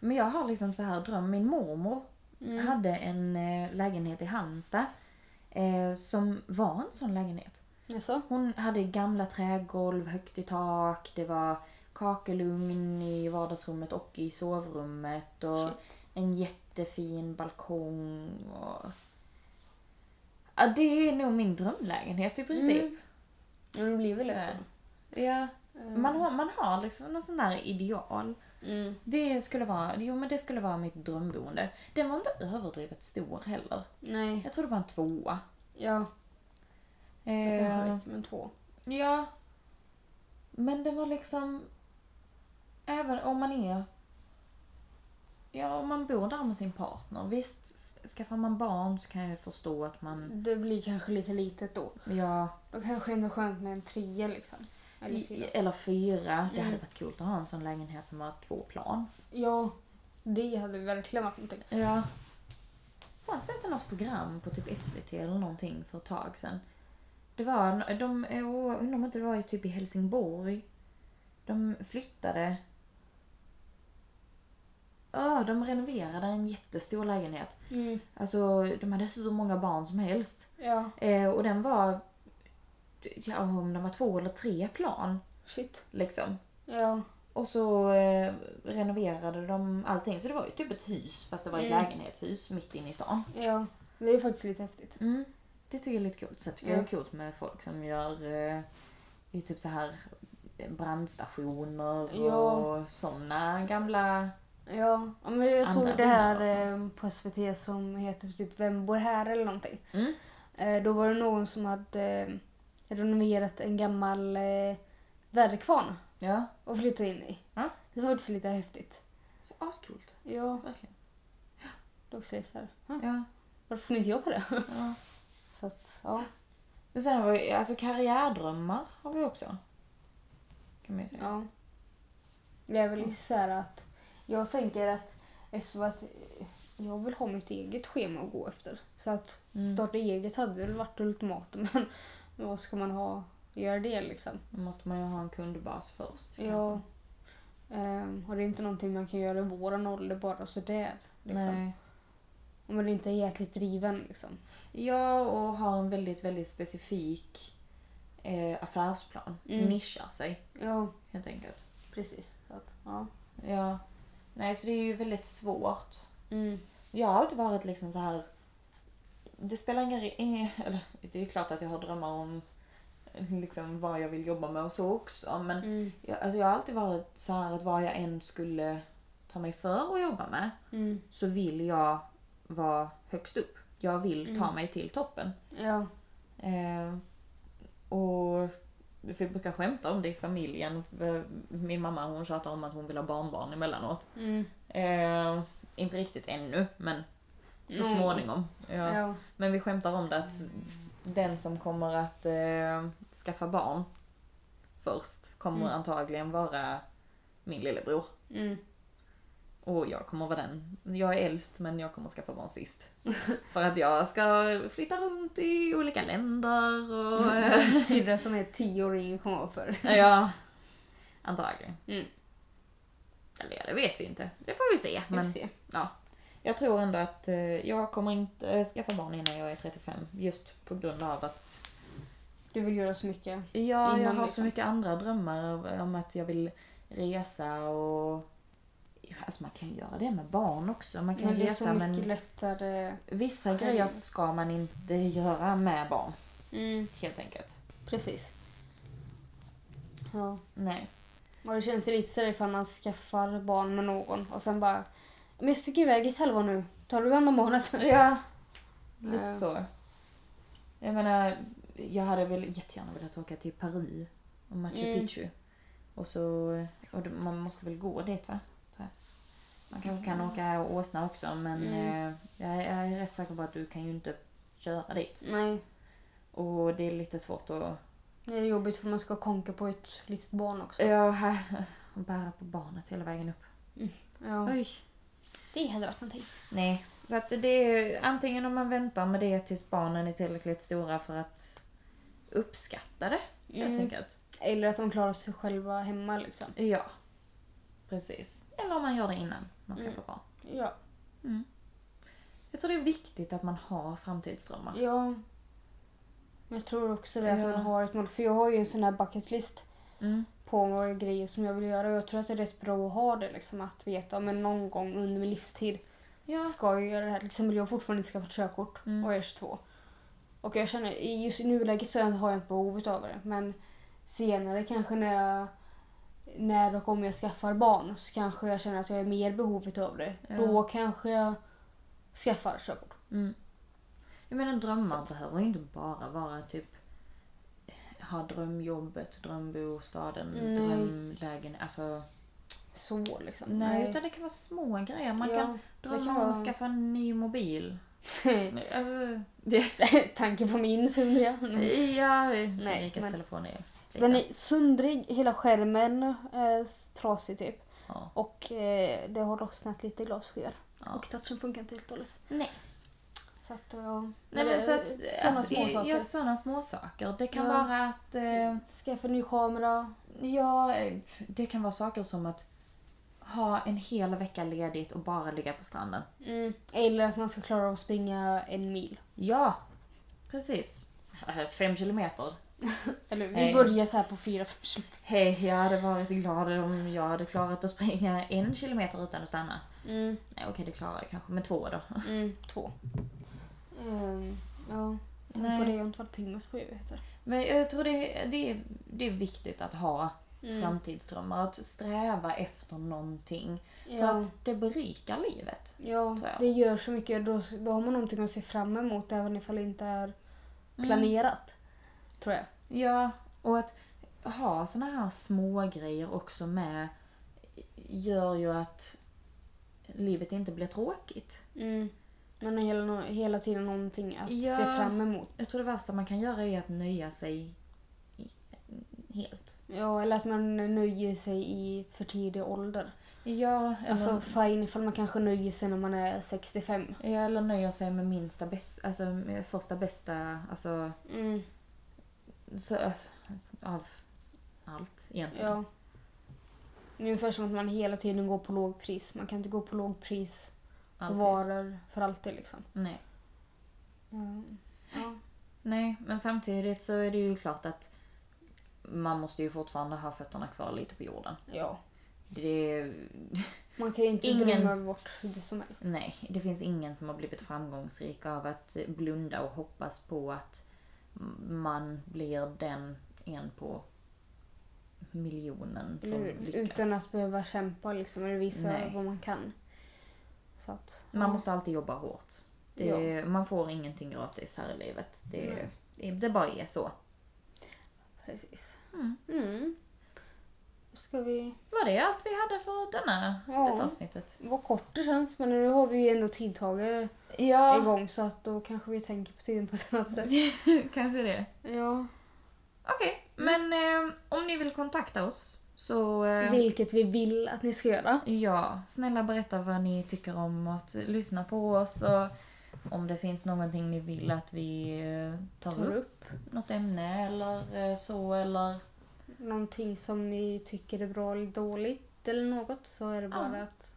A: men jag har liksom så här dröm. Min mormor
B: Mm.
A: hade en eh, lägenhet i Halmstad eh, som var en sån lägenhet.
B: Jaså?
A: Hon hade gamla trägolv, högt i tak, det var kakelugn i vardagsrummet och i sovrummet och
B: Shit.
A: en jättefin balkong och... Ja, det är nog min drömlägenhet i princip.
B: Mm. Ja, det blir väl lätt så.
A: Ja.
B: Eh,
A: Eh, Man, har, man har liksom någon sån där ideal.
B: Mm.
A: Det skulle vara, jo men det skulle vara mitt drömboende. Den var inte överdrivet stor heller.
B: Nej,
A: Jag tror det var en tvåa.
B: ja. Det kan
A: Eh,
B: räcka med två.
A: ja. Men den var liksom... Även om man är... Ja, om man bor där med sin partner. Visst, s- skaffar man barn så kan jag ju förstå att man...
B: Det blir kanske lite litet då.
A: Ja,
B: Då kanske det ändå är skönt med en trea liksom. Eller
A: i-
B: fyra.
A: eller fyra. Det hade
B: Mm.
A: varit coolt att ha en sån lägenhet som var två plan.
B: Ja, det hade verkligen varit någonting.
A: Ja. Fanns det inte något program på typ SVT eller någonting för ett tag sedan? Det var, de, eh, jag undrar om inte det var i typ i Helsingborg. De flyttade. Ja, de renoverade en jättestor lägenhet.
B: Mm.
A: Alltså, de hade hur många barn som helst.
B: Ja,
A: Eh, och den var, ja om den var två eller tre plan
B: shit.
A: liksom.
B: Ja,
A: Och så eh, renoverade de allting. Så det var ju typ ett hus, fast det var ett
B: Mm.
A: lägenhetshus mitt inne i stan.
B: ja. Det är faktiskt lite häftigt.
A: Mm, det tycker jag är lite coolt. Så jag tycker
B: Mm.
A: det är coolt med folk som gör eh, i typ så här eh, brandstationer
B: Ja.
A: och sådana gamla...
B: Ja, ja, men jag såg
A: Andra
B: det här
A: bilder och
B: eh, på SVT som heter typ Vem bor här eller någonting.
A: Mm.
B: Eh, Då var det någon som hade eh, renoverat en gammal eh, väderkvarn
A: Ja.
B: och flyttat in i.
A: Ja.
B: Det var faktiskt lite häftigt.
A: Så ascoolt.
B: Ja,
A: Verkligen.
B: det också är så här. "Huh,
A: Ja.
B: Varför kom inte jag på det?
A: ja.
B: (laughs) Så att, ja.
A: Men sen har vi alltså karriärdrömmar har vi också. Kan man ju säga.
B: Ja. Det är väl lite så här att jag tänker att eftersom att jag vill ha mitt eget schema att gå efter. Så att
A: Mm.
B: starta eget hade väl varit ultimatum. (laughs) Men vad ska man ha göra det liksom?
A: Då måste man ju ha en kundbas först.
B: Ja. Ehm, och det är inte någonting man kan göra i våran ålder bara sådär.
A: kanske.
B: Liksom.
A: Nej.
B: Om man inte är jäkligt driven liksom.
A: Ja, och ha en väldigt, väldigt specifik eh, affärsplan.
B: Mm.
A: Nischa sig
B: Ja,
A: helt enkelt.
B: precis. Så att, ja.
A: Ja. Nej, så det är ju väldigt svårt.
B: Mm.
A: Jag har alltid varit liksom så här. Det spelar ingen roll. Eller det är ju klart att jag har drömmar om liksom vad jag vill jobba med och så också. Men
B: Mm.
A: jag, alltså jag har alltid varit så här att vad jag än skulle ta mig för att jobba med
B: Mm.
A: så vill jag vara högst upp. Jag vill ta mig till toppen.
B: Ja.
A: Eh, och för jag brukar skämta om det i familjen. För Min mamma hon tjatar om att hon vill ha barnbarn emellanåt.
B: Mm.
A: Eh, inte riktigt ännu, men så
B: Mm.
A: småningom. Ja.
B: Ja.
A: Men vi skämtar om det att den som kommer att eh, skaffa barn först kommer
B: Mm.
A: antagligen vara min lillebror.
B: Mm.
A: Och jag kommer vara den. Jag är äldst men jag kommer skaffa barn
B: (laughs)
A: sist. För att jag ska flytta runt i olika länder (laughs) och...
B: (laughs)
A: eh,
B: Den syrra som är tio år och ingen kommer ihåg för.
A: ja. Antagligen.
B: Mm.
A: Eller ja, det vet vi inte. Det får vi se.
B: Vi får
A: Men
B: (laughs) se.
A: ja. Jag tror ändå att eh, jag kommer inte eh, skaffa barn innan jag är 35. Just på grund av att
B: Du vill göra så mycket.
A: Ja, jag
B: Innan
A: har så
B: liksom.
A: mycket andra drömmar om att jag vill resa och... Alltså man kan ju göra det med barn också. Man kan
B: Men
A: ju
B: det är så
A: resa
B: mycket
A: men
B: lättare.
A: vissa
B: själv.
A: grejer ska man inte göra med barn
B: Mm,
A: helt enkelt.
B: precis. Ja.
A: Nej.
B: Och det känns ju lite sådär ifall man skaffar barn med någon och sen bara Men jag sticker iväg ett halvår nu. Tar du hand om barnet? (laughs)
A: (laughs) Ja, lite
B: Ja.
A: så. Jag menar, jag hade väl jättegärna velat åka till Peru och Machu
B: Mm.
A: Picchu. Och så, och det- man måste väl gå dit va? Tror jag. Man kanske kan åka åsna också men
B: Mm.
A: eh, jag, är, jag är rätt säker på att du kan ju inte köra dit.
B: Nej.
A: Och det är lite svårt att...
B: Det är jobbigt för man ska konka på ett litet barn också.
A: Ja, (laughs) bära på barnet hela vägen upp.
B: Ja.
A: Oj.
B: Det hade varit någonting.
A: Nej. Så att det är antingen om man väntar med det tills barnen är tillräckligt stora för att uppskatta det helt
B: Mm.
A: enkelt.
B: Eller att de klarar sig själva hemma liksom.
A: Ja. Precis. Eller om man gör det innan man
B: Mm.
A: skaffar barn.
B: Ja.
A: Jag tror det är viktigt att man har framtidsdrömmar.
B: Ja. Men jag tror också det att
A: Ja.
B: man har ett mål. För jag har ju en sån här bucket list
A: Mm.
B: på några grejer som jag vill göra. Och jag tror att det är rätt bra att ha det liksom. Att veta men någon gång under min livstid
A: Ja.
B: ska jag göra det här. Till exempel jag har fortfarande inte skaffat körkort
A: Mm.
B: och jag är 22. Och jag känner i- just i nuläget så har jag inte behovet av det. Men senare kanske när jag när och om jag skaffar barn så kanske jag känner att jag är mer behovet av det.
A: Ja.
B: Då kanske jag skaffar körkort.
A: Mm. Jag menar drömmar behöver ju inte bara vara typ ha drömjobbet, drömbostaden,
B: Nej.
A: drömlägen. Alltså,
B: Så liksom.
A: nej, utan det kan vara små grejer. Man
B: Ja, (laughs)
A: kan
B: det
A: drömma
B: kan
A: om
B: vara-
A: att skaffa en ny mobil. Nej, alltså, det-
B: Tanken på min
A: (laughs)
B: sundriga.
A: ja,
B: Mm. Nej,
A: Erikas
B: men-
A: telefon är
B: (laughs) Den
A: sliten.
B: är sundrig, hela skärmen är trasig typ.
A: Ja.
B: Och eh, det har lossnat lite glasskivor.
A: Ja.
B: Och touchen funkar inte helt och hållet.
A: Nej.
B: Så att, ja. eh,
A: Nej,
B: det
A: men
B: är
A: så att,
B: sådana
A: att,
B: små saker.
A: Ja, sådana små saker. Det kan
B: Ja.
A: vara att eh,
B: Skaffa ny kamera.
A: Ja, eh, det kan vara saker som att ha en hel vecka ledigt och bara ligga på stranden.
B: Eller att man ska klara av att springa en mil.
A: Ja, precis. Eh, Fem kilometer.
B: Eller vi
A: Nej.
B: börjar så här på fyra, fem kilometer.
A: Hej, jag hade varit glad om jag hade klarat att springa en kilometer utan att stanna.
B: Mm.
A: Nej, okej, det klarar jag kanske. Men två då.
B: Mm. (laughs) Två. Ehm, ja. Jag tänkte på
A: Nej.
B: det, jag har inte varit pigg på evigheter.
A: Men jag tror det, det, är, det är viktigt att ha
B: Mm.
A: framtidsdrömmar. Att sträva efter någonting. För
B: Ja.
A: att det berikar livet.
B: Ja,
A: tror jag.
B: det gör så mycket. Då, då har man någonting att se fram emot även ifall det inte är
A: Mm.
B: planerat. Tror jag.
A: Ja, och att ha såna här små grejer också med gör ju att livet inte blir tråkigt.
B: Man har hela, hela tiden någonting att
A: Ja.
B: se fram emot.
A: Jag tror det värsta man kan göra är att nöja sig i- helt.
B: Ja, eller att man nöjer sig i för tidig ålder.
A: Ja, eller,
B: Alltså fine ifall man kanske nöjer sig när man är 65.
A: ja, eller nöja sig med minsta bästa, alltså med första bästa, alltså
B: Mm.
A: så, av allt egentligen.
B: Ja. Det är ungefär som att man hela tiden går på lågpris. Man kan inte gå på lågpris på
A: Alltid.
B: varor för alltid liksom.
A: Nej.
B: Ja. Ja.
A: Nej, men samtidigt så är det ju klart att man måste ju fortfarande ha fötterna kvar lite på jorden.
B: ja.
A: Det,
B: Man kan ju inte
A: Ingen-
B: drömma bort hur som helst.
A: nej, det finns ingen som har blivit framgångsrik av att blunda och hoppas på att man blir den en på miljonen som
B: Nu-
A: lyckas.
B: Mm, Utan att behöva kämpa liksom och visa
A: Nej.
B: vad man kan. Så att,
A: Man
B: ja.
A: måste alltid jobba hårt. Det, Man får ingenting gratis här i livet. Det, det bara är så.
B: Precis.
A: Mm.
B: Mm. Ska vi...
A: Var det allt vi hade för denna,
B: Ja.
A: detta avsnittet?
B: Vad kort det känns, men nu har vi ju ändå tidtagare
A: Ja,
B: igång så att då kanske vi tänker på tiden på ett (laughs) annat sätt.
A: (laughs) kanske det.
B: Ja.
A: Okej, men eh, om ni vill kontakta oss så... Eh,
B: Vilket Mm. vi vill att ni ska göra.
A: Ja, snälla berätta vad ni tycker om att lyssna på oss och om det finns någonting ni vill att vi eh, tar,
B: Tar
A: upp.
B: upp
A: Något ämne eller eh, så eller...
B: någonting som ni tycker är bra eller dåligt eller något så är det bara
A: Ja.
B: att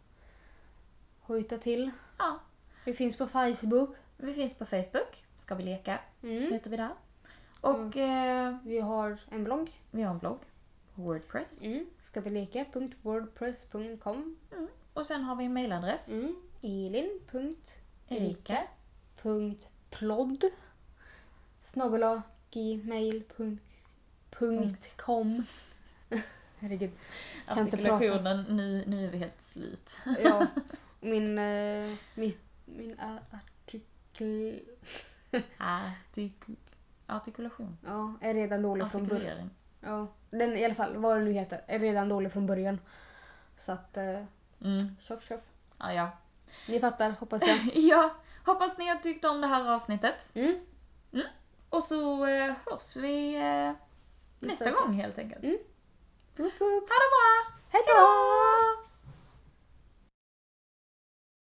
B: hojta till.
A: Ja,
B: Vi finns på Facebook.
A: vi finns på Facebook. Ska vi leka?
B: Mm.
A: Heter vi där. Och eh,
B: Vi har en blogg.
A: vi har en blogg på Wordpress.
B: Mm. Ska vi leka.wordpress.com
A: Mm. Och sen har vi en mailadress.
B: mm. Elin.plod
A: Erika.
B: snabel-a gmail.com Herregud. Kan inte prata.
A: Artikulationen, nu, nu är vi helt slut.
B: Ja. Min, eh, mitt, min a- artikel...
A: Artik- artikulation.
B: Ja, är redan dålig från början.
A: Artikulering.
B: Ja, den i alla fall, vad den nu heter, är redan dålig från början. Så att, eh,
A: Mm.
B: tjoff tjoff.
A: Ja, ja. (laughs)
B: Ni fattar, hoppas jag.
A: ja, hoppas ni har tyckt om det här avsnittet.
B: Mm,
A: Och så eh, hörs vi eh, nästa
B: vecka.
A: gång helt enkelt.
B: Mm. Woop,
A: Ha det
B: woop.
A: bra!
B: Hej då!